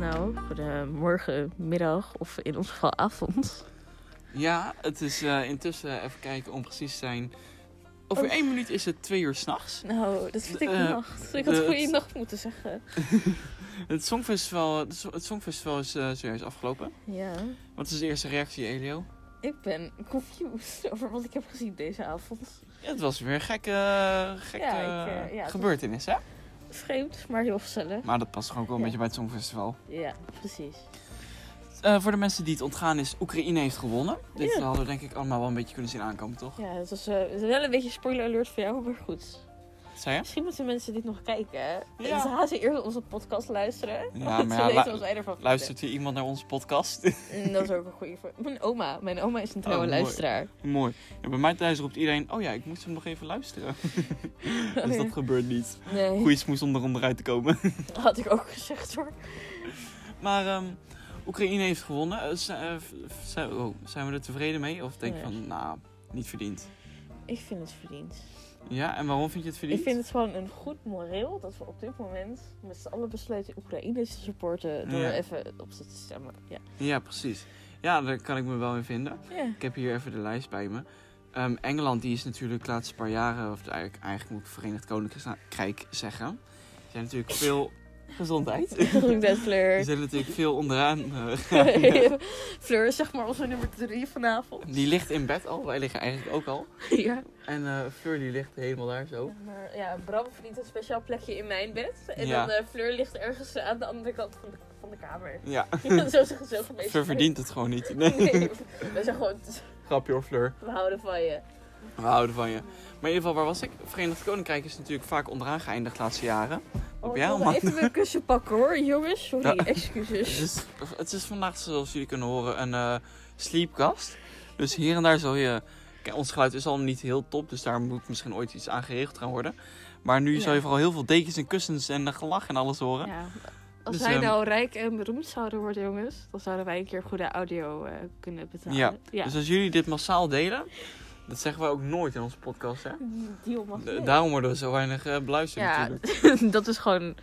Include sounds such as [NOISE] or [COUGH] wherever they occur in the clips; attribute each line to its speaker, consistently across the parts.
Speaker 1: Nou, morgen, middag of in ons geval avond.
Speaker 2: Ja, het is eh, intussen even kijken om precies te zijn. Over
Speaker 1: Oh.
Speaker 2: één minuut is het twee uur s'nachts.
Speaker 1: Nou, dat vind ik
Speaker 2: Eh,
Speaker 1: nacht. Dus Ik had
Speaker 2: de-
Speaker 1: goede nacht moeten zeggen.
Speaker 2: Het Songfestival, het so- het songfestival is eh, zojuist afgelopen.
Speaker 1: Ja,
Speaker 2: Wat is de eerste reactie, Elio?
Speaker 1: ik ben confused over wat ik heb gezien deze avond.
Speaker 2: Ja, het was weer een gekke, gekke
Speaker 1: Ja, ik, eh, ja, het
Speaker 2: gebeurtenis, hè?
Speaker 1: Vreemd, maar heel gezellig.
Speaker 2: Maar dat past gewoon ook wel een
Speaker 1: Ja.
Speaker 2: beetje bij het Songfestival.
Speaker 1: Ja, precies.
Speaker 2: Eh, voor de mensen die het ontgaan is, Oekraïne heeft gewonnen. Dit
Speaker 1: Ja.
Speaker 2: hadden we denk ik allemaal wel een beetje kunnen zien aankomen, toch?
Speaker 1: Ja, het was eh, wel een beetje spoiler alert voor jou, maar goed.
Speaker 2: Zei je?
Speaker 1: Misschien moeten mensen dit nog kijken. hè?
Speaker 2: Ja.
Speaker 1: En ze gaan ze eerst onze podcast luisteren.
Speaker 2: Ja,
Speaker 1: want
Speaker 2: maar
Speaker 1: [LAUGHS] ze
Speaker 2: ja,
Speaker 1: weten
Speaker 2: lu-
Speaker 1: wat wij ervan vinden.
Speaker 2: Luistert hier iemand naar onze podcast?
Speaker 1: En
Speaker 2: [LAUGHS]
Speaker 1: dat is ook een goede vraag. Mijn oma. Mijn oma is een trouwe
Speaker 2: Oh, mooi.
Speaker 1: luisteraar.
Speaker 2: Mooi. En bij mij thuis roept iedereen, oh ja, ik moest hem nog even luisteren. dus
Speaker 1: Oh, ja.
Speaker 2: dat gebeurt niet.
Speaker 1: [LAUGHS] Nee,
Speaker 2: Goeie smoes om eronder uit te komen. [LAUGHS]
Speaker 1: dat had ik ook gezegd hoor.
Speaker 2: maar ehm, Oekraïne heeft gewonnen. Eh, z- eh, v- v- zijn, oh, zijn we er tevreden mee? Of denk je
Speaker 1: Nee.
Speaker 2: van, nou, niet verdiend.
Speaker 1: Ik vind het verdiend.
Speaker 2: Ja, en waarom vind je het verdiend?
Speaker 1: Ik vind het gewoon een goed moreel dat we op dit moment met z'n allen besluiten Oekraïne te supporten. Door
Speaker 2: Ja.
Speaker 1: even op ze te stemmen. Ja.
Speaker 2: Ja, precies. Ja, daar kan ik me wel in vinden.
Speaker 1: [LAUGHS] ja.
Speaker 2: Ik heb hier even de lijst bij me. Ehm, Engeland die is natuurlijk de laatste paar jaren, of eigenlijk, eigenlijk moet ik Verenigd Koninkrijk zeggen. Er zijn natuurlijk
Speaker 1: [LAUGHS]
Speaker 2: veel gezondheid.
Speaker 1: Groen
Speaker 2: Er [LAUGHS]
Speaker 1: Fleur.
Speaker 2: zijn natuurlijk veel onderaan. eh,
Speaker 1: [LAUGHS] Fleur is zeg maar onze nummer drie vanavond.
Speaker 2: die ligt in bed al, wij liggen eigenlijk ook al.
Speaker 1: [LAUGHS] ja.
Speaker 2: En eh, Fleur die ligt helemaal daar zo.
Speaker 1: Maar ja, Bram verdient een speciaal plekje in mijn bed. En
Speaker 2: Ja.
Speaker 1: dan eh, Fleur ligt ergens aan de andere kant van de, van de
Speaker 2: [LAUGHS]
Speaker 1: kamer. [LAUGHS]
Speaker 2: Ja,
Speaker 1: Ja, zo zeggen ze ook een beetje.
Speaker 2: Fleur verdient het gewoon niet. Nee.
Speaker 1: [LAUGHS] Nee, we zijn gewoon,
Speaker 2: [LAUGHS] Grapje hoor, Fleur.
Speaker 1: we houden van je.
Speaker 2: We houden van je. Maar in ieder geval, waar was ik? Verenigd Koninkrijk is natuurlijk vaak onderaan geëindigd de laatste jaren.
Speaker 1: Oh,
Speaker 2: Op
Speaker 1: ik
Speaker 2: jou,
Speaker 1: wilde
Speaker 2: man.
Speaker 1: even mijn kussen pakken hoor, jongens. Sorry,
Speaker 2: Ja.
Speaker 1: excuses.
Speaker 2: Het [LAUGHS] is, het is vandaag, zoals jullie kunnen horen, een eh, sleepkast. Dus hier en daar zal je... Kijk, ons geluid is al niet heel top, dus daar moet misschien ooit iets aan geregeld gaan worden. Maar nu
Speaker 1: Ja.
Speaker 2: zal je vooral heel veel dekens en kussens en eh, gelach en alles horen.
Speaker 1: Ja, als
Speaker 2: Dus,
Speaker 1: wij
Speaker 2: ehm,
Speaker 1: nou rijk en beroemd zouden worden, jongens, dan zouden wij een keer goede audio eh, kunnen betalen.
Speaker 2: Ja,
Speaker 1: ja.
Speaker 2: Dus als jullie dit massaal delen, dat zeggen wij ook nooit in onze podcast, hè?
Speaker 1: deal mag
Speaker 2: Da-
Speaker 1: niet.
Speaker 2: Daarom worden we zo weinig eh, beluisterd
Speaker 1: Ja, [LAUGHS]
Speaker 2: natuurlijk.
Speaker 1: dat is gewoon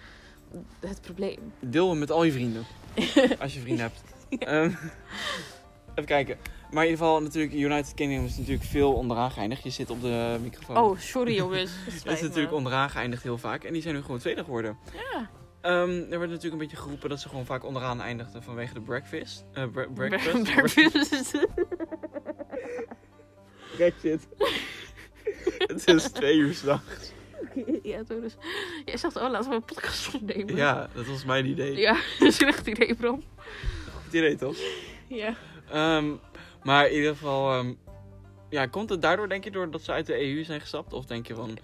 Speaker 1: het probleem.
Speaker 2: Deel hem met al je
Speaker 1: [LAUGHS]
Speaker 2: vrienden. als je vrienden hebt. Ehm, even kijken. Maar in ieder geval, natuurlijk, United Kingdom is natuurlijk veel onderaan geëindigd. Je zit op de microfoon.
Speaker 1: Oh, sorry jongens. Het
Speaker 2: [LAUGHS] Het
Speaker 1: spijt
Speaker 2: is
Speaker 1: me.
Speaker 2: natuurlijk
Speaker 1: [LAUGHS]
Speaker 2: onderaan geëindigd heel vaak. En die zijn nu gewoon tweede geworden.
Speaker 1: Ja.
Speaker 2: Ehm, er werd natuurlijk een beetje geroepen dat ze gewoon vaak onderaan eindigden vanwege de breakfast. Eh, bre- breakfast. [LAUGHS]
Speaker 1: Breakfast. [LAUGHS]
Speaker 2: Breakfast. Het is twee uur
Speaker 1: [LAUGHS]
Speaker 2: s'nachts.
Speaker 1: ja, zo dus. Jij zegt, oh, laten we een podcast opnemen.
Speaker 2: Ja, dat was mijn idee.
Speaker 1: Ja, [LAUGHS] slecht idee, Bram.
Speaker 2: Goed idee toch?
Speaker 1: Ja.
Speaker 2: Ehm, maar in ieder geval, ehm, ja, komt het daardoor denk je doordat ze uit de EU zijn gestapt? Of denk je van,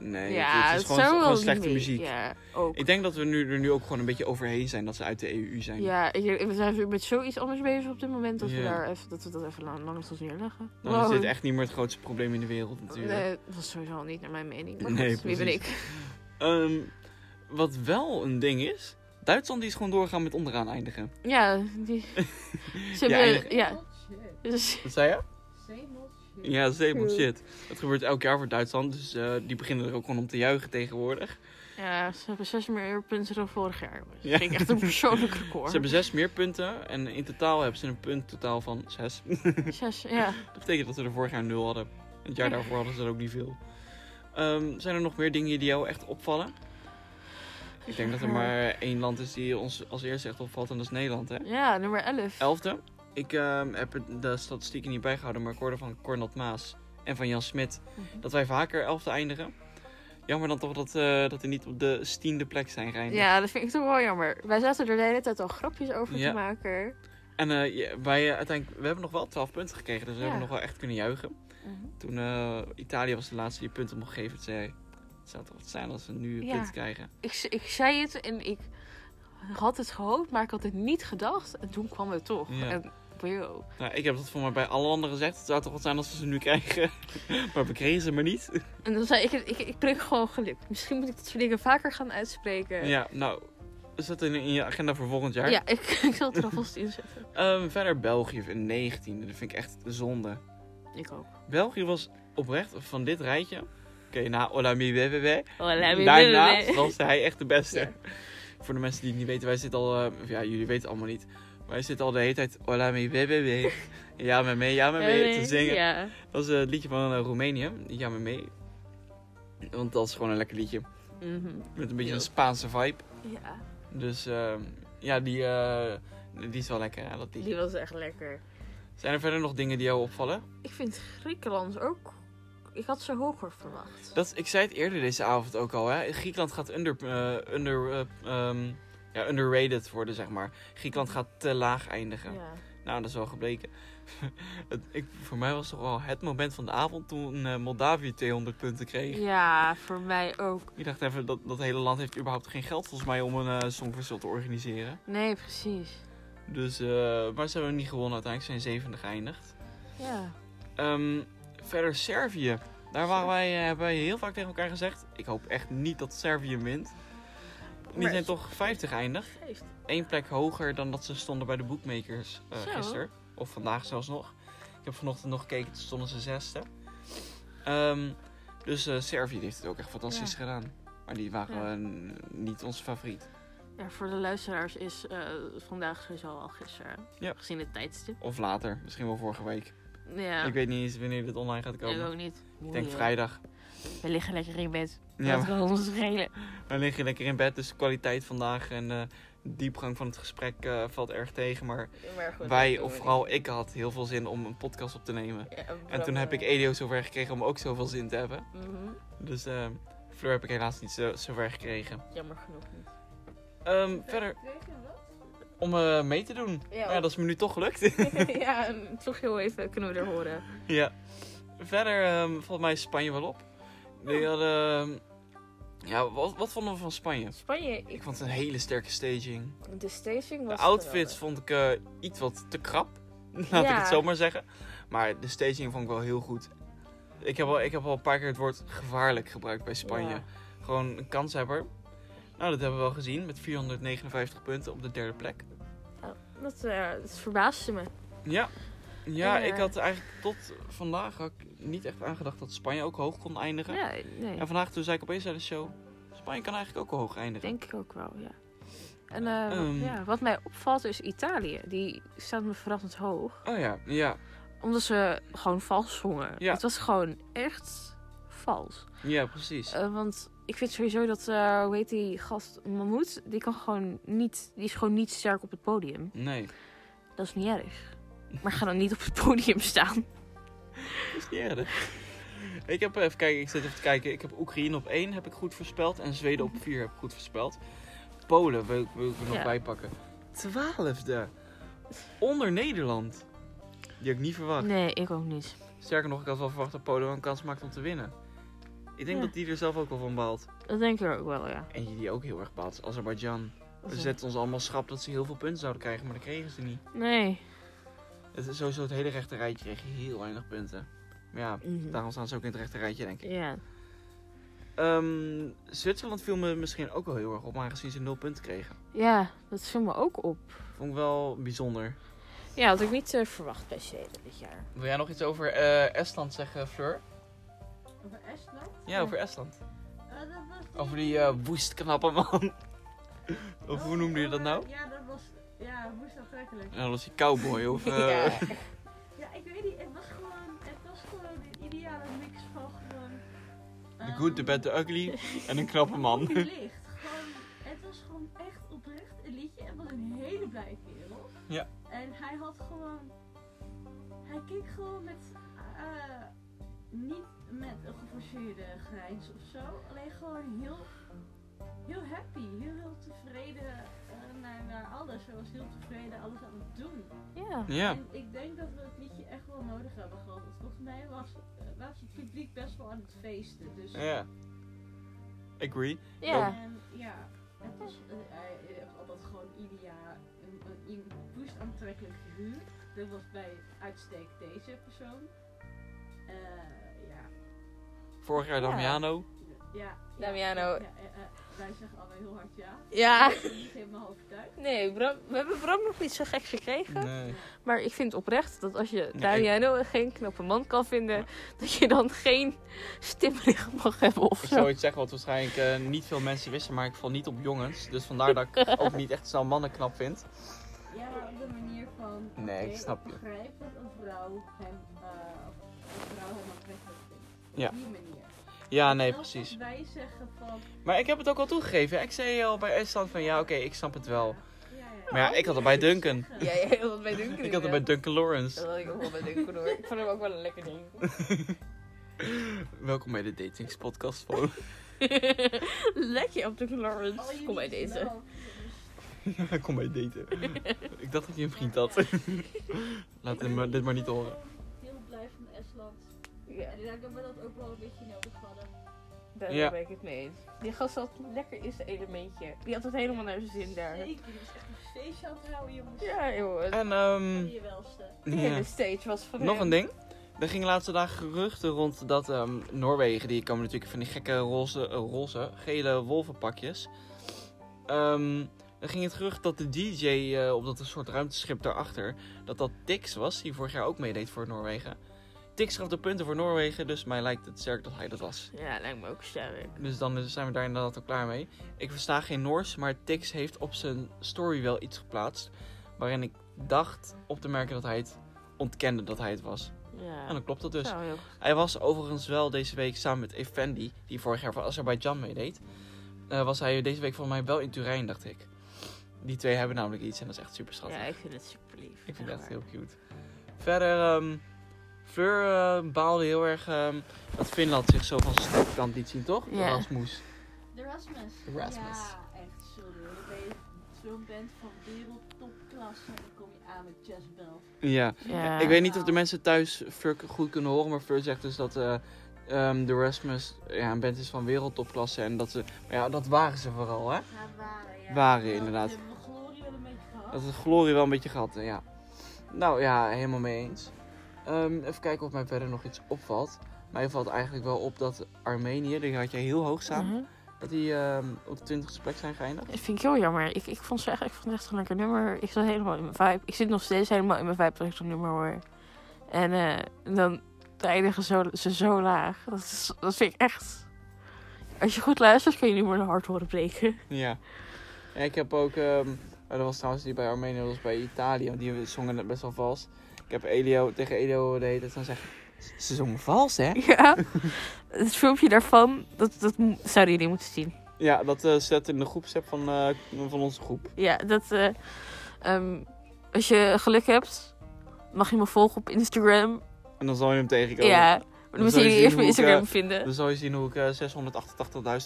Speaker 2: nee,
Speaker 1: ja,
Speaker 2: het is gewoon,
Speaker 1: zou
Speaker 2: gewoon
Speaker 1: wel
Speaker 2: slechte
Speaker 1: niet.
Speaker 2: muziek.
Speaker 1: Ja, ook.
Speaker 2: Ik denk dat we nu, er nu ook gewoon een beetje overheen zijn dat ze uit de EU zijn.
Speaker 1: Ja, ik, we zijn met zoiets anders bezig op dit moment dat,
Speaker 2: Ja. Nou,
Speaker 1: we, daar even, dat we dat even lang, langs ons neerleggen.
Speaker 2: Dan is dit echt niet meer het grootste probleem in de wereld natuurlijk.
Speaker 1: Nee, dat is sowieso al niet naar mijn mening. Maar
Speaker 2: Nee,
Speaker 1: goed, wie ben
Speaker 2: precies.
Speaker 1: ik?
Speaker 2: Ehm, wat wel een ding is, Duitsland die is gewoon doorgaan met onderaan eindigen.
Speaker 1: Ja,
Speaker 2: [LAUGHS]
Speaker 1: die... Ze
Speaker 2: Ja,
Speaker 1: hebben...
Speaker 2: eigenlijk-
Speaker 3: Oh,
Speaker 1: ja. Dus,
Speaker 2: Wat zei je? Ja, dat is helemaal shit. Dat gebeurt elk jaar voor Duitsland, dus eh, die beginnen er ook gewoon om te juichen tegenwoordig.
Speaker 1: ja, ze hebben zes meer punten dan vorig jaar. jongens. Dat
Speaker 2: Ja.
Speaker 1: vind ik echt een persoonlijk record.
Speaker 2: Ze hebben zes meer punten en in totaal hebben ze een punt totaal van zes. [LAUGHS]
Speaker 1: Zes, ja.
Speaker 2: Dat betekent dat we er vorig jaar nul hadden. Het jaar daarvoor hadden ze er ook niet veel. Ehm, zijn er nog meer dingen die jou echt opvallen? Ik denk dat er maar één land is die ons als eerste echt opvalt en dat is Nederland, hè?
Speaker 1: Ja, nummer 11.
Speaker 2: Elfde. Ik ehm, heb het- de statistieken niet bijgehouden, maar ik hoorde van Cornat Maas en van Jan Smit
Speaker 1: Mhm.
Speaker 2: dat wij vaker elfde eindigen. Jammer dan toch dat, eh dat we niet op de tiende plek zijn geëindigd.
Speaker 1: Ja, dat vind ik toch wel jammer. Wij zaten er de hele tijd al grapjes over
Speaker 2: Ja.
Speaker 1: te maken.
Speaker 2: En eh, ja, wij, eh, uiteindelijk, we hebben nog wel 12 punten gekregen, dus we
Speaker 1: Ja.
Speaker 2: hebben nog wel echt kunnen juichen.
Speaker 4: Mhm.
Speaker 2: Toen eh, Italië was de laatste die punten mocht geven, toen zei hij, het zou toch wat zijn als we nu
Speaker 1: Ja.
Speaker 2: punten krijgen.
Speaker 1: ik, z- ik zei het en ik had het gehoopt, maar ik had het niet gedacht. En toen kwam het toch.
Speaker 2: Ja.
Speaker 1: En wow.
Speaker 2: Nou, ik heb dat voor mij bij alle anderen gezegd, het zou toch wat zijn als we ze nu krijgen. [LAUGHS] maar we kregen ze maar niet.
Speaker 1: En dan zei ik, ik, ik kreeg gewoon geluk. Misschien moet ik dat soort dingen vaker gaan uitspreken.
Speaker 2: Ja, nou, zet in, in je agenda voor volgend jaar.
Speaker 1: Ja, ik, [LAUGHS] ik zal het er alvast in zetten.
Speaker 2: Ehm, verder België in 19e. Dat vind ik echt zonde.
Speaker 1: Ik ook.
Speaker 2: België was oprecht van dit rijtje. Oké, na Ola Mi Wewewe. Mm,
Speaker 1: Oh, laat me-
Speaker 2: Daarnaast was hij echt de beste.
Speaker 1: Ja.
Speaker 2: Voor de mensen die het niet weten, wij zitten al, eh, of ja, jullie weten het allemaal niet. Wij zitten al de hele tijd, hola mi BBB. Ja me mee, ja me mee, te zingen.
Speaker 4: Ja.
Speaker 2: Dat is eh, het liedje van eh, Roemenië, ja me mee. Want dat is gewoon een lekker liedje.
Speaker 4: Mhm.
Speaker 2: Met een beetje
Speaker 4: Ja.
Speaker 2: een Spaanse vibe.
Speaker 4: ja,
Speaker 2: Dus eh, ja, die, eh, die is wel lekker, hè, dat
Speaker 4: die
Speaker 2: liedje.
Speaker 4: was echt lekker.
Speaker 2: Zijn er verder nog dingen die jou opvallen?
Speaker 4: Ik vind Griekenland ook... Ik had ze hoger verwacht.
Speaker 2: Dat, ik zei het eerder deze avond ook al. Hè? Griekenland gaat under, eh, under, eh, ehm, ja, underrated worden, zeg maar. Griekenland gaat te laag eindigen.
Speaker 4: ja.
Speaker 2: Nou, dat is wel gebleken. [LAUGHS] het, ik, voor mij was toch wel het moment van de avond toen eh, Moldavië 200 punten kreeg.
Speaker 4: ja, voor mij ook.
Speaker 2: Ik dacht even, dat, dat hele land heeft überhaupt geen geld volgens mij om een eh songfestival te organiseren.
Speaker 4: Nee, precies.
Speaker 2: Dus, eh, maar ze hebben niet gewonnen uiteindelijk. Ze zijn zevende geëindigd.
Speaker 4: Ja.
Speaker 2: Ehm, verder Servië. Daar waren wij, eh, hebben wij heel vaak tegen elkaar gezegd. Ik hoop echt niet dat Servië wint. Die
Speaker 4: Maar-
Speaker 2: zijn toch 50 geëindigd.
Speaker 4: Geeft.
Speaker 2: Eén plek hoger dan dat ze stonden bij de bookmakers eh,
Speaker 4: Zo.
Speaker 2: gisteren. Of vandaag zelfs nog. Ik heb vanochtend nog gekeken, toen stonden ze zesde. Ehm, dus eh, Servië die heeft het ook echt fantastisch
Speaker 4: Ja.
Speaker 2: gedaan. Maar die waren
Speaker 4: Ja.
Speaker 2: eh, niet onze favoriet.
Speaker 4: Ja, voor de luisteraars is eh, vandaag sowieso al gisteren.
Speaker 2: Ja.
Speaker 4: Gezien het tijdstip.
Speaker 2: Of later, misschien wel vorige week.
Speaker 4: Ja.
Speaker 2: Ik weet niet eens wanneer dit online gaat komen.
Speaker 4: Ik ook niet.
Speaker 2: Ik denk vrijdag.
Speaker 4: We liggen lekker in bed.
Speaker 2: Ja,
Speaker 4: Dat kan ons schelen.
Speaker 2: Dan lig je lekker in bed, dus de kwaliteit vandaag en de diepgang van het gesprek eh, valt erg tegen. Maar wij, of vooral ik, had heel veel zin om een podcast op te nemen. En toen heb ik Elio zover gekregen om ook zoveel zin te hebben.
Speaker 4: Mhm.
Speaker 2: Dus eh Fleur heb ik helaas niet zo, zover gekregen.
Speaker 4: Jammer genoeg
Speaker 2: [LAUGHS]
Speaker 4: niet. [LAUGHS]
Speaker 2: Ehm, verder, om eh, mee te doen.
Speaker 4: Ja,
Speaker 2: Nou, dat is me nu toch gelukt. [LAUGHS]
Speaker 4: ja, en toch heel even kunnen we er horen.
Speaker 2: ja. Verder ehm, valt mij Spanje wel op. Die hadden, ehm, ja, wat, wat vonden we van Spanje?
Speaker 4: Spanje,
Speaker 2: Ik vond het een hele sterke staging.
Speaker 4: de staging
Speaker 2: De
Speaker 4: was...
Speaker 2: outfits vond ik eh, iets wat te krap. [LAUGHS] Laat ik
Speaker 4: Ja.
Speaker 2: het zo maar zeggen. Maar de staging vond ik wel heel goed. Ik heb al, ik heb al een paar keer het woord gevaarlijk gebruikt bij Spanje.
Speaker 4: Ja.
Speaker 2: Gewoon een kanshebber. Nou, dat hebben we wel gezien. Met 459 punten op de derde plek.
Speaker 4: Dat, eh, dat verbaasde me.
Speaker 2: Ja. Ja,
Speaker 4: Ja.
Speaker 2: ik had eigenlijk tot vandaag had ik niet echt aangedacht dat Spanje ook hoog kon eindigen.
Speaker 4: Ja, nee.
Speaker 2: En vandaag toen zei ik opeens aan de show... Spanje kan eigenlijk ook wel hoog eindigen.
Speaker 4: Denk ik ook wel, ja. En eh, wat-
Speaker 2: Ehm.
Speaker 4: ja, wat mij opvalt is Italië. Die staat me verrassend hoog.
Speaker 2: Oh ja, ja,
Speaker 4: Omdat ze gewoon vals zongen.
Speaker 2: Ja.
Speaker 4: Het was gewoon echt vals.
Speaker 2: ja, precies.
Speaker 4: Eh, want ik vind sowieso dat, eh, hoe heet die gast, Mahmoud, die kan gewoon niet, die is gewoon niet sterk op het podium.
Speaker 2: Nee.
Speaker 4: Dat is niet erg. Maar ga dan niet op het podium
Speaker 2: [LAUGHS]
Speaker 4: staan.
Speaker 2: Dat is niet erg. Ik heb even kijken, ik zit even te kijken. Ik heb Oekraïne op 1 heb ik goed voorspeld. En Zweden op 4 heb ik goed voorspeld. Polen wil, ik- wil ik er nog
Speaker 4: Ja.
Speaker 2: bij pakken. Twaalfde. Onder Nederland. Die had ik niet verwacht.
Speaker 4: Nee, ik ook niet.
Speaker 2: Sterker nog, ik had wel verwacht dat Polen wel een kans maakt om te winnen. Ik denk
Speaker 4: Ja.
Speaker 2: dat die er zelf ook wel van baalt.
Speaker 4: Dat denk ik ook wel, ja.
Speaker 2: En die ook heel erg baalt is Azerbeidzjan. We
Speaker 4: Dat is-
Speaker 2: zetten ons allemaal schrap dat ze heel veel punten zouden krijgen, maar dat kregen ze niet.
Speaker 4: Nee.
Speaker 2: Het is sowieso het hele rechte rijtje kreeg heel weinig punten. Maar ja, daarom staan ze ook in het rechte rijtje, denk ik.
Speaker 4: Ja.
Speaker 2: Ehm, Zwitserland viel me misschien ook wel heel erg op, aangezien ze nul punten kregen.
Speaker 4: ja, dat viel me ook op.
Speaker 2: Vond ik wel bijzonder.
Speaker 4: Ja, had ik niet eh, verwacht bij Zweden dit jaar.
Speaker 2: Wil jij nog iets over eh, Estland zeggen, Fleur?
Speaker 3: Over Estland?
Speaker 2: Ja, over Estland.
Speaker 3: Eh, dat was
Speaker 2: Over die eh woest knappe man. [LAUGHS] of hoe noemde je dat nou?
Speaker 3: Ja, dat was... Ja, moest aantrekkelijk.
Speaker 2: Ja, dat was die cowboy [LAUGHS] of... eh,
Speaker 3: Ja, ik weet niet. Het was gewoon... Het was gewoon de ideale mix van gewoon... ehm,
Speaker 2: The good, the bad, the ugly. En een knappe [LAUGHS] man.
Speaker 3: Licht. [LAUGHS] Gewoon, het was gewoon echt oprecht een liedje. Het was een hele blije kerel.
Speaker 2: Ja.
Speaker 3: En hij had gewoon... Hij keek gewoon met... eh, niet met een geforceerde grijns of zo. Alleen gewoon heel... Heel happy. Heel, heel tevreden eh, naar, naar alles. Hij was heel tevreden alles aan het doen.
Speaker 4: Ja.
Speaker 2: Ja,
Speaker 3: En ik denk dat we het liedje echt wel nodig hebben gehad. Want volgens mij was, eh, was het publiek best wel aan het feesten. Dus...
Speaker 2: ja. Agree.
Speaker 4: Ja.
Speaker 3: En ja, het was eh, hij heeft altijd gewoon ieder jaar een, een, een woest aantrekkelijk figuur. Dat was bij uitstek deze persoon. Eh ja,
Speaker 2: Vorig jaar Damiano.
Speaker 3: ja. ja,
Speaker 4: Damiano.
Speaker 3: ja, ja, eh, wij zeggen allemaal heel hard ja.
Speaker 4: Ja. [LAUGHS]
Speaker 3: Ik ben niet helemaal overtuigd.
Speaker 4: Nee, Bram, we hebben Bram nog niet zo gek gekregen.
Speaker 2: Nee.
Speaker 4: Maar ik vind oprecht dat als je
Speaker 2: Nee.
Speaker 4: Damiano geen knappe man kan vinden, dat je dan geen stimmerig mag hebben of
Speaker 2: Ik
Speaker 4: zo.
Speaker 2: zou iets zeggen wat waarschijnlijk eh, niet veel mensen wisten, maar ik val niet op jongens. Dus vandaar dat ik ook niet echt snel mannen knap vind.
Speaker 3: Ja, maar op de manier van.
Speaker 2: Nee, ik
Speaker 3: oké,
Speaker 2: snap je.
Speaker 3: begrijp dat een vrouw hem, eh, een vrouw hem aantrekkelijk vindt.
Speaker 2: Ja.
Speaker 3: Op die manier.
Speaker 2: Ja, nee,
Speaker 3: Zelfs als
Speaker 2: precies.
Speaker 3: wij zeggen van.
Speaker 2: Maar ik heb het ook al toegegeven. hè. Ik zei al bij Estland van ja, oké, ik snap het wel.
Speaker 3: Ja, ja.
Speaker 2: Maar ja, ik had het bij Duncan.
Speaker 4: Ja, jij had het bij Duncan.
Speaker 2: Ik had het bij Duncan Lawrence.
Speaker 4: had ik ook wel bij Duncan hoor. Ik vond hem ook wel een lekker ding.
Speaker 2: [LAUGHS] Welkom bij de datingspodcast [LAUGHS] van.
Speaker 4: [LAUGHS] Lekker op Duncan
Speaker 3: Al
Speaker 4: Lawrence.
Speaker 3: jullie
Speaker 4: Kom bij
Speaker 3: zijn
Speaker 4: deze.
Speaker 3: wel-
Speaker 2: Ja, kom bij daten. Ik dacht dat je een vriend [LAUGHS] had. Laat hem maar- dit maar niet horen.
Speaker 3: Heel blij van Estland.
Speaker 4: Ja,
Speaker 3: En ik denk dat we dat ook wel een beetje nodig hadden.
Speaker 4: daar
Speaker 2: Ja.
Speaker 4: ben ik het mee eens. Die gast had lekker is elementje. Die had het helemaal naar zijn zin daar.
Speaker 3: Zeker, dit is echt een feestje aan het houden, jongens.
Speaker 4: Ja, joh. Het
Speaker 2: En ehm
Speaker 3: Die je eh? welste.
Speaker 2: ja.
Speaker 4: hele stage was van
Speaker 2: nog
Speaker 4: hem.
Speaker 2: een ding. Er gingen laatste dagen geruchten rond dat ehm, Noorwegen, die komen natuurlijk van die gekke roze, eh, roze gele wolvenpakjes. Ehm er ging het gerucht dat de DJ eh, op dat een soort ruimteschip daarachter, dat dat Tix was, die vorig jaar ook meedeed voor Noorwegen. Tix gaf de punten voor Noorwegen, dus mij lijkt het sterk dat hij dat was.
Speaker 4: Ja, lijkt me ook sterk.
Speaker 2: Dus dan is- zijn we daar inderdaad al klaar mee. Ik versta geen Noors, maar Tix heeft op zijn story wel iets geplaatst. Waarin ik dacht op te merken dat hij het ontkende dat hij het was.
Speaker 4: Ja.
Speaker 2: En dan klopt dat dus.
Speaker 4: Zou heel
Speaker 2: Hij was overigens wel deze week samen met Effendi, die vorig jaar voor Azerbeidzjan meedeed. eh, was hij deze week volgens mij wel in Turijn, dacht ik. Die twee hebben namelijk iets en dat is echt super schattig.
Speaker 4: Ja, ik vind het super lief.
Speaker 2: Ik vind het echt heel cute. Verder, ehm Fleur eh, baalde heel erg ehm, dat Finland zich zo van zijn kant liet zien, toch?
Speaker 4: Ja.
Speaker 2: Erasmus.
Speaker 3: De Rasmus.
Speaker 2: Rasmus.
Speaker 3: Ja, echt, sorry hoor. Dan ben je zo'n band van wereldtopklasse en dan kom je aan met Jezebel.
Speaker 2: Ja.
Speaker 4: Ja.
Speaker 2: ik weet niet of de mensen thuis Fleur k- goed kunnen horen, maar Fleur zegt dus dat eh, ehm, de Rasmus ja, een band is van wereldtopklasse en dat ze, maar ja, dat waren ze vooral, hè?
Speaker 3: Ja, waren, ja.
Speaker 2: Waren,
Speaker 3: Ja,
Speaker 2: inderdaad.
Speaker 3: We hebben glorie wel een beetje gehad.
Speaker 2: Dat is glorie wel een beetje gehad, hè, ja. Nou ja, helemaal mee eens. Ehm, even kijken of mij verder nog iets opvalt. Mij valt eigenlijk wel op dat Armenië, die had jij heel hoog staan,
Speaker 4: Mhm.
Speaker 2: dat die ehm, op de 20 plek zijn geëindigd.
Speaker 4: Dat vind ik heel jammer. Ik, ik vond ze echt, ik vond het echt een lekker nummer. Ik zat helemaal in mijn vibe. Ik zit nog steeds helemaal in mijn vibe dat ik zo'n nummer hoor. En eh, dan eindigen zo, ze zo laag. Dat, is, dat vind ik echt... Als je goed luistert, kun je nu maar een hart horen breken. [LAUGHS]
Speaker 2: Ja. En ik heb ook, ehm oh, dat was trouwens niet bij Armenië, dat was bij Italië, want die zongen het best wel vals. Ik heb Elio, tegen Elio de hele tijd gaan zeggen, "Ze- ze zongen vals hè? [LAUGHS]
Speaker 4: Ja. Het filmpje daarvan, dat, dat mo- zouden jullie moeten zien.
Speaker 2: Ja, dat eh zet in de groepsapp van, eh, van onze groep.
Speaker 4: Ja, dat... eh, ehm, als je geluk hebt, mag je me volgen op Instagram.
Speaker 2: En dan zal je hem tegenkomen.
Speaker 4: Ja, dan
Speaker 2: Dan
Speaker 4: moet je
Speaker 2: zal je
Speaker 4: je
Speaker 2: zien
Speaker 4: eerst mijn
Speaker 2: hoe ik,
Speaker 4: Instagram
Speaker 2: eh,
Speaker 4: vinden.
Speaker 2: [LAUGHS] Dan zal je zien hoe ik eh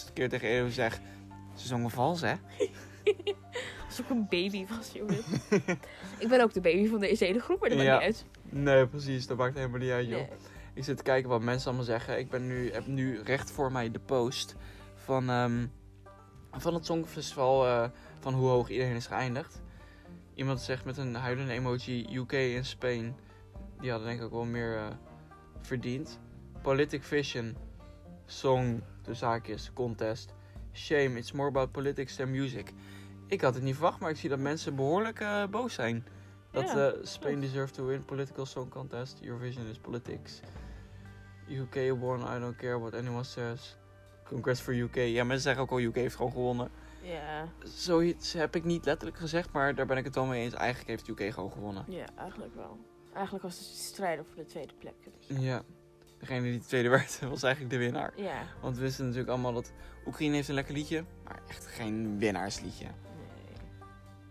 Speaker 2: 688.000 keer tegen Elio zeg, ze zongen vals hè?
Speaker 4: Als ik een baby was, jongen.
Speaker 2: [LAUGHS]
Speaker 4: ik ben ook de baby van deze hele groep, maar dat maakt
Speaker 2: Ja.
Speaker 4: niet uit.
Speaker 2: Nee, precies, dat maakt helemaal niet uit joh.
Speaker 4: Nee.
Speaker 2: Ik zit te kijken wat mensen allemaal zeggen. Ik ben nu, heb nu recht voor mij de post van, ehm, van het Songfestival. eh, van hoe hoog iedereen is geëindigd. Iemand zegt met een huilende emoji UK en Spain. Die hadden denk ik ook wel meer eh, verdiend. Politic Vision. Song, de zaakjes, contest. Shame, it's more about politics than music. Ik had het niet verwacht, maar ik zie dat mensen behoorlijk eh, boos zijn. Dat
Speaker 4: Ja,
Speaker 2: eh, Spain deserves to win political song contest. Eurovision is politics. UK won, I don't care what anyone says. Congrats for UK. Ja, mensen zeggen ook al UK heeft gewoon gewonnen.
Speaker 4: Ja,
Speaker 2: Zoiets heb ik niet letterlijk gezegd, maar daar ben ik het wel mee eens. Eigenlijk heeft UK gewoon gewonnen.
Speaker 4: ja, eigenlijk wel. Eigenlijk was het strijden voor de tweede plek. dus.
Speaker 2: Ja. Degene die de tweede [LAUGHS] werd, was eigenlijk de winnaar.
Speaker 4: Ja,
Speaker 2: Want we wisten natuurlijk allemaal dat Oekraïne heeft een lekker liedje, maar echt geen winnaarsliedje.
Speaker 4: nee.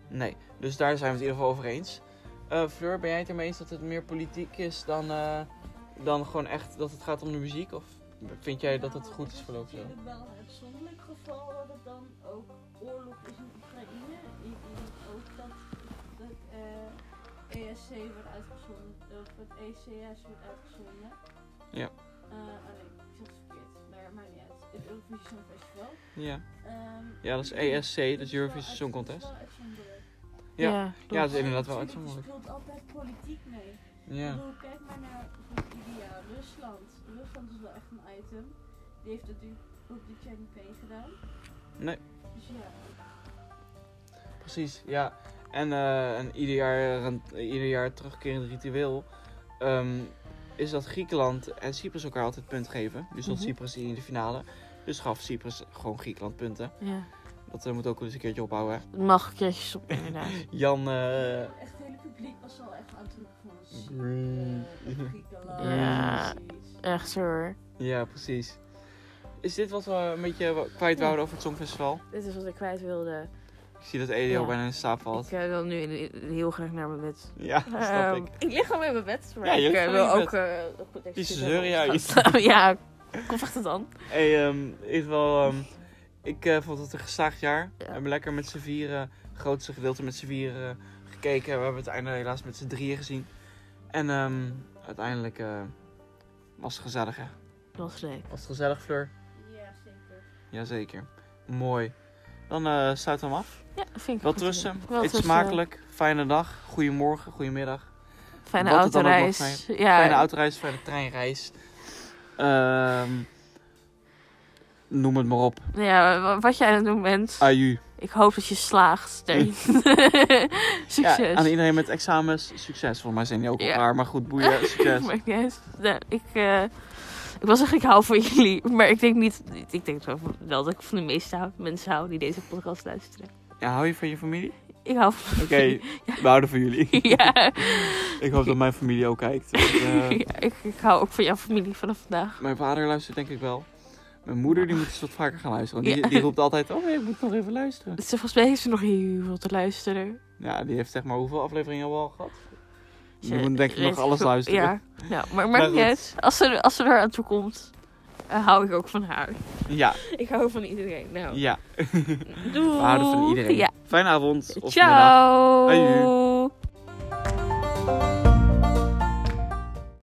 Speaker 2: Nee, dus daar zijn we het in ieder geval over eens. Eh, Fleur, ben jij het ermee eens dat het meer politiek is dan, eh, dan gewoon echt dat het gaat om de muziek? Of vind jij dat het
Speaker 3: Nou,
Speaker 2: goed
Speaker 3: dit
Speaker 2: is verlopen zo?
Speaker 3: Het is natuurlijk wel een uitzonderlijk geval dat het dan ook oorlog is in Oekraïne. Ik denk ook dat het eh, ESC wordt uitgezonden, of het ECS wordt uitgezonden.
Speaker 2: Ja.
Speaker 3: Eh, oh nee, ik zeg het verkeerd, maar maakt niet uit. Het Eurovisie Songfestival.
Speaker 2: Ja.
Speaker 3: Ehm,
Speaker 2: ja, dat is
Speaker 3: ik denk
Speaker 2: ESC, dat
Speaker 3: het
Speaker 2: is
Speaker 3: wel
Speaker 2: Eurovision
Speaker 3: uit-
Speaker 2: Song
Speaker 3: het is
Speaker 2: Contest.
Speaker 3: wel uitzonderlijk.
Speaker 2: Ja. Ja,
Speaker 4: klopt.
Speaker 2: dat is inderdaad wel
Speaker 3: Natuurlijk,
Speaker 2: uitzonderlijk.
Speaker 3: Er speelt altijd politiek mee. Ik
Speaker 2: Ja.
Speaker 3: bedoel, kijk maar naar bijvoorbeeld ieder jaar Rusland. Rusland is wel echt een item. Die heeft natuurlijk ook de Champion gedaan.
Speaker 2: Nee.
Speaker 3: Dus ja.
Speaker 2: Precies, ja. En, eh, en ieder, jaar, een, ieder jaar terugkerend ritueel ehm, is dat Griekenland en Cyprus elkaar altijd punt geven. Nu stond
Speaker 4: Mhm.
Speaker 2: Cyprus in de finale, dus gaf Cyprus gewoon Griekenland punten.
Speaker 4: Ja.
Speaker 2: Dat eh, moet ook wel eens een keertje ophouden. hè.
Speaker 4: Het mag een keertje
Speaker 2: [LAUGHS]
Speaker 4: stoppen, inderdaad.
Speaker 2: Jan, eh,
Speaker 3: echt het hele publiek was al echt aan het roepen van "Zie,
Speaker 2: Green.
Speaker 3: eh, Griekenland,
Speaker 4: Ja.
Speaker 3: precies."
Speaker 4: Echt zo hoor.
Speaker 2: ja, precies. Is dit wat we een beetje wa- kwijt wouden over het Songfestival?
Speaker 4: Dit is wat ik kwijt wilde.
Speaker 2: Ik zie dat Elio
Speaker 4: Ja.
Speaker 2: bijna in slaap valt.
Speaker 4: Ik eh, wil nu in- in- heel graag naar mijn bed.
Speaker 2: Ja, [LAUGHS] dat snap
Speaker 4: Ehm,
Speaker 2: ik.
Speaker 4: lig gewoon in mijn bed, maar
Speaker 2: Ja, je
Speaker 4: ik
Speaker 2: ligt
Speaker 4: eh,
Speaker 2: gewoon
Speaker 4: wil
Speaker 2: in je
Speaker 4: ook eh, goed even
Speaker 2: Die
Speaker 4: zitten
Speaker 2: zeuren
Speaker 4: gaan
Speaker 2: juist.
Speaker 4: staan. [LAUGHS] ja, kom echt het dan.
Speaker 2: Hey, ehm, in ieder geval, ehm, ik eh, vond het een geslaagd jaar. We
Speaker 4: Ja.
Speaker 2: hebben lekker met z'n vieren, het grootste gedeelte met z'n vieren eh, gekeken. We hebben het einde helaas met z'n drieën gezien. En ehm, uiteindelijk eh, was het gezellig, hè?
Speaker 4: Dat was leuk.
Speaker 2: Was het gezellig, Fleur?
Speaker 3: Ja, zeker.
Speaker 2: Jazeker. Mooi. Dan eh sluit hem af.
Speaker 4: Ja, vind ik
Speaker 2: Wel
Speaker 4: een goed idee.
Speaker 2: trusten.
Speaker 4: Wel
Speaker 2: Eet
Speaker 4: trusten.
Speaker 2: smakelijk. Fijne dag. Goedemorgen, goedemiddag.
Speaker 4: Fijne
Speaker 2: Wat het dan ook mag
Speaker 4: autoreis.
Speaker 2: zijn.
Speaker 4: Ja,
Speaker 2: Fijne autoreis, fijne treinreis. Ehm, noem het maar op.
Speaker 4: ja, wa- wat jij aan het doen bent.
Speaker 2: Aju.
Speaker 4: Ik hoop dat je slaagt. Teun. Succes.
Speaker 2: [LAUGHS] Ja,
Speaker 4: [LAUGHS]
Speaker 2: aan iedereen met examens, succes. Volgens mij zijn die ook
Speaker 4: Ja.
Speaker 2: klaar, maar goed,
Speaker 4: [LAUGHS]
Speaker 2: boeien, succes.
Speaker 4: Maakt niet uit. Nou, ik, eh, ik wil zeggen, ik hou van jullie. [LAUGHS] Maar ik denk niet. Ik denk wel- wel dat ik van de meeste hou- mensen hou die deze podcast luisteren.
Speaker 2: Ja, hou je van je
Speaker 4: [LAUGHS]
Speaker 2: familie?
Speaker 4: Ik hou van.
Speaker 2: Oké, we houden van jullie.
Speaker 4: [LAUGHS] ja.
Speaker 2: Ik hoop dat mijn familie ook kijkt. want, eh,
Speaker 4: [LAUGHS] Ja, ik, ik hou ook van jouw familie vanaf vandaag.
Speaker 2: mijn vader luistert denk ik wel. Mijn moeder die moet eens wat vaker gaan luisteren. want Die,
Speaker 4: Ja.
Speaker 2: die roept altijd, oh ik moet nog even luisteren.
Speaker 4: Dus volgens mij heeft ze nog heel veel te luisteren.
Speaker 2: Ja, die heeft zeg maar hoeveel afleveringen al wel gehad?
Speaker 4: Ze
Speaker 2: Je moet denk ik nog
Speaker 4: weet-
Speaker 2: alles luisteren.
Speaker 4: Ja, nou,
Speaker 2: Maar
Speaker 4: maar maakt niet
Speaker 2: goed.
Speaker 4: uit. Als ze, als ze er aan toe komt, eh, hou ik ook van haar.
Speaker 2: Ja,
Speaker 4: Ik hou van iedereen. Nou,
Speaker 2: ja. [LAUGHS]
Speaker 4: doei.
Speaker 2: We houden van iedereen.
Speaker 4: Oh, Ja.
Speaker 2: Fijne avond of middag.
Speaker 4: Ciao.
Speaker 2: Adieu.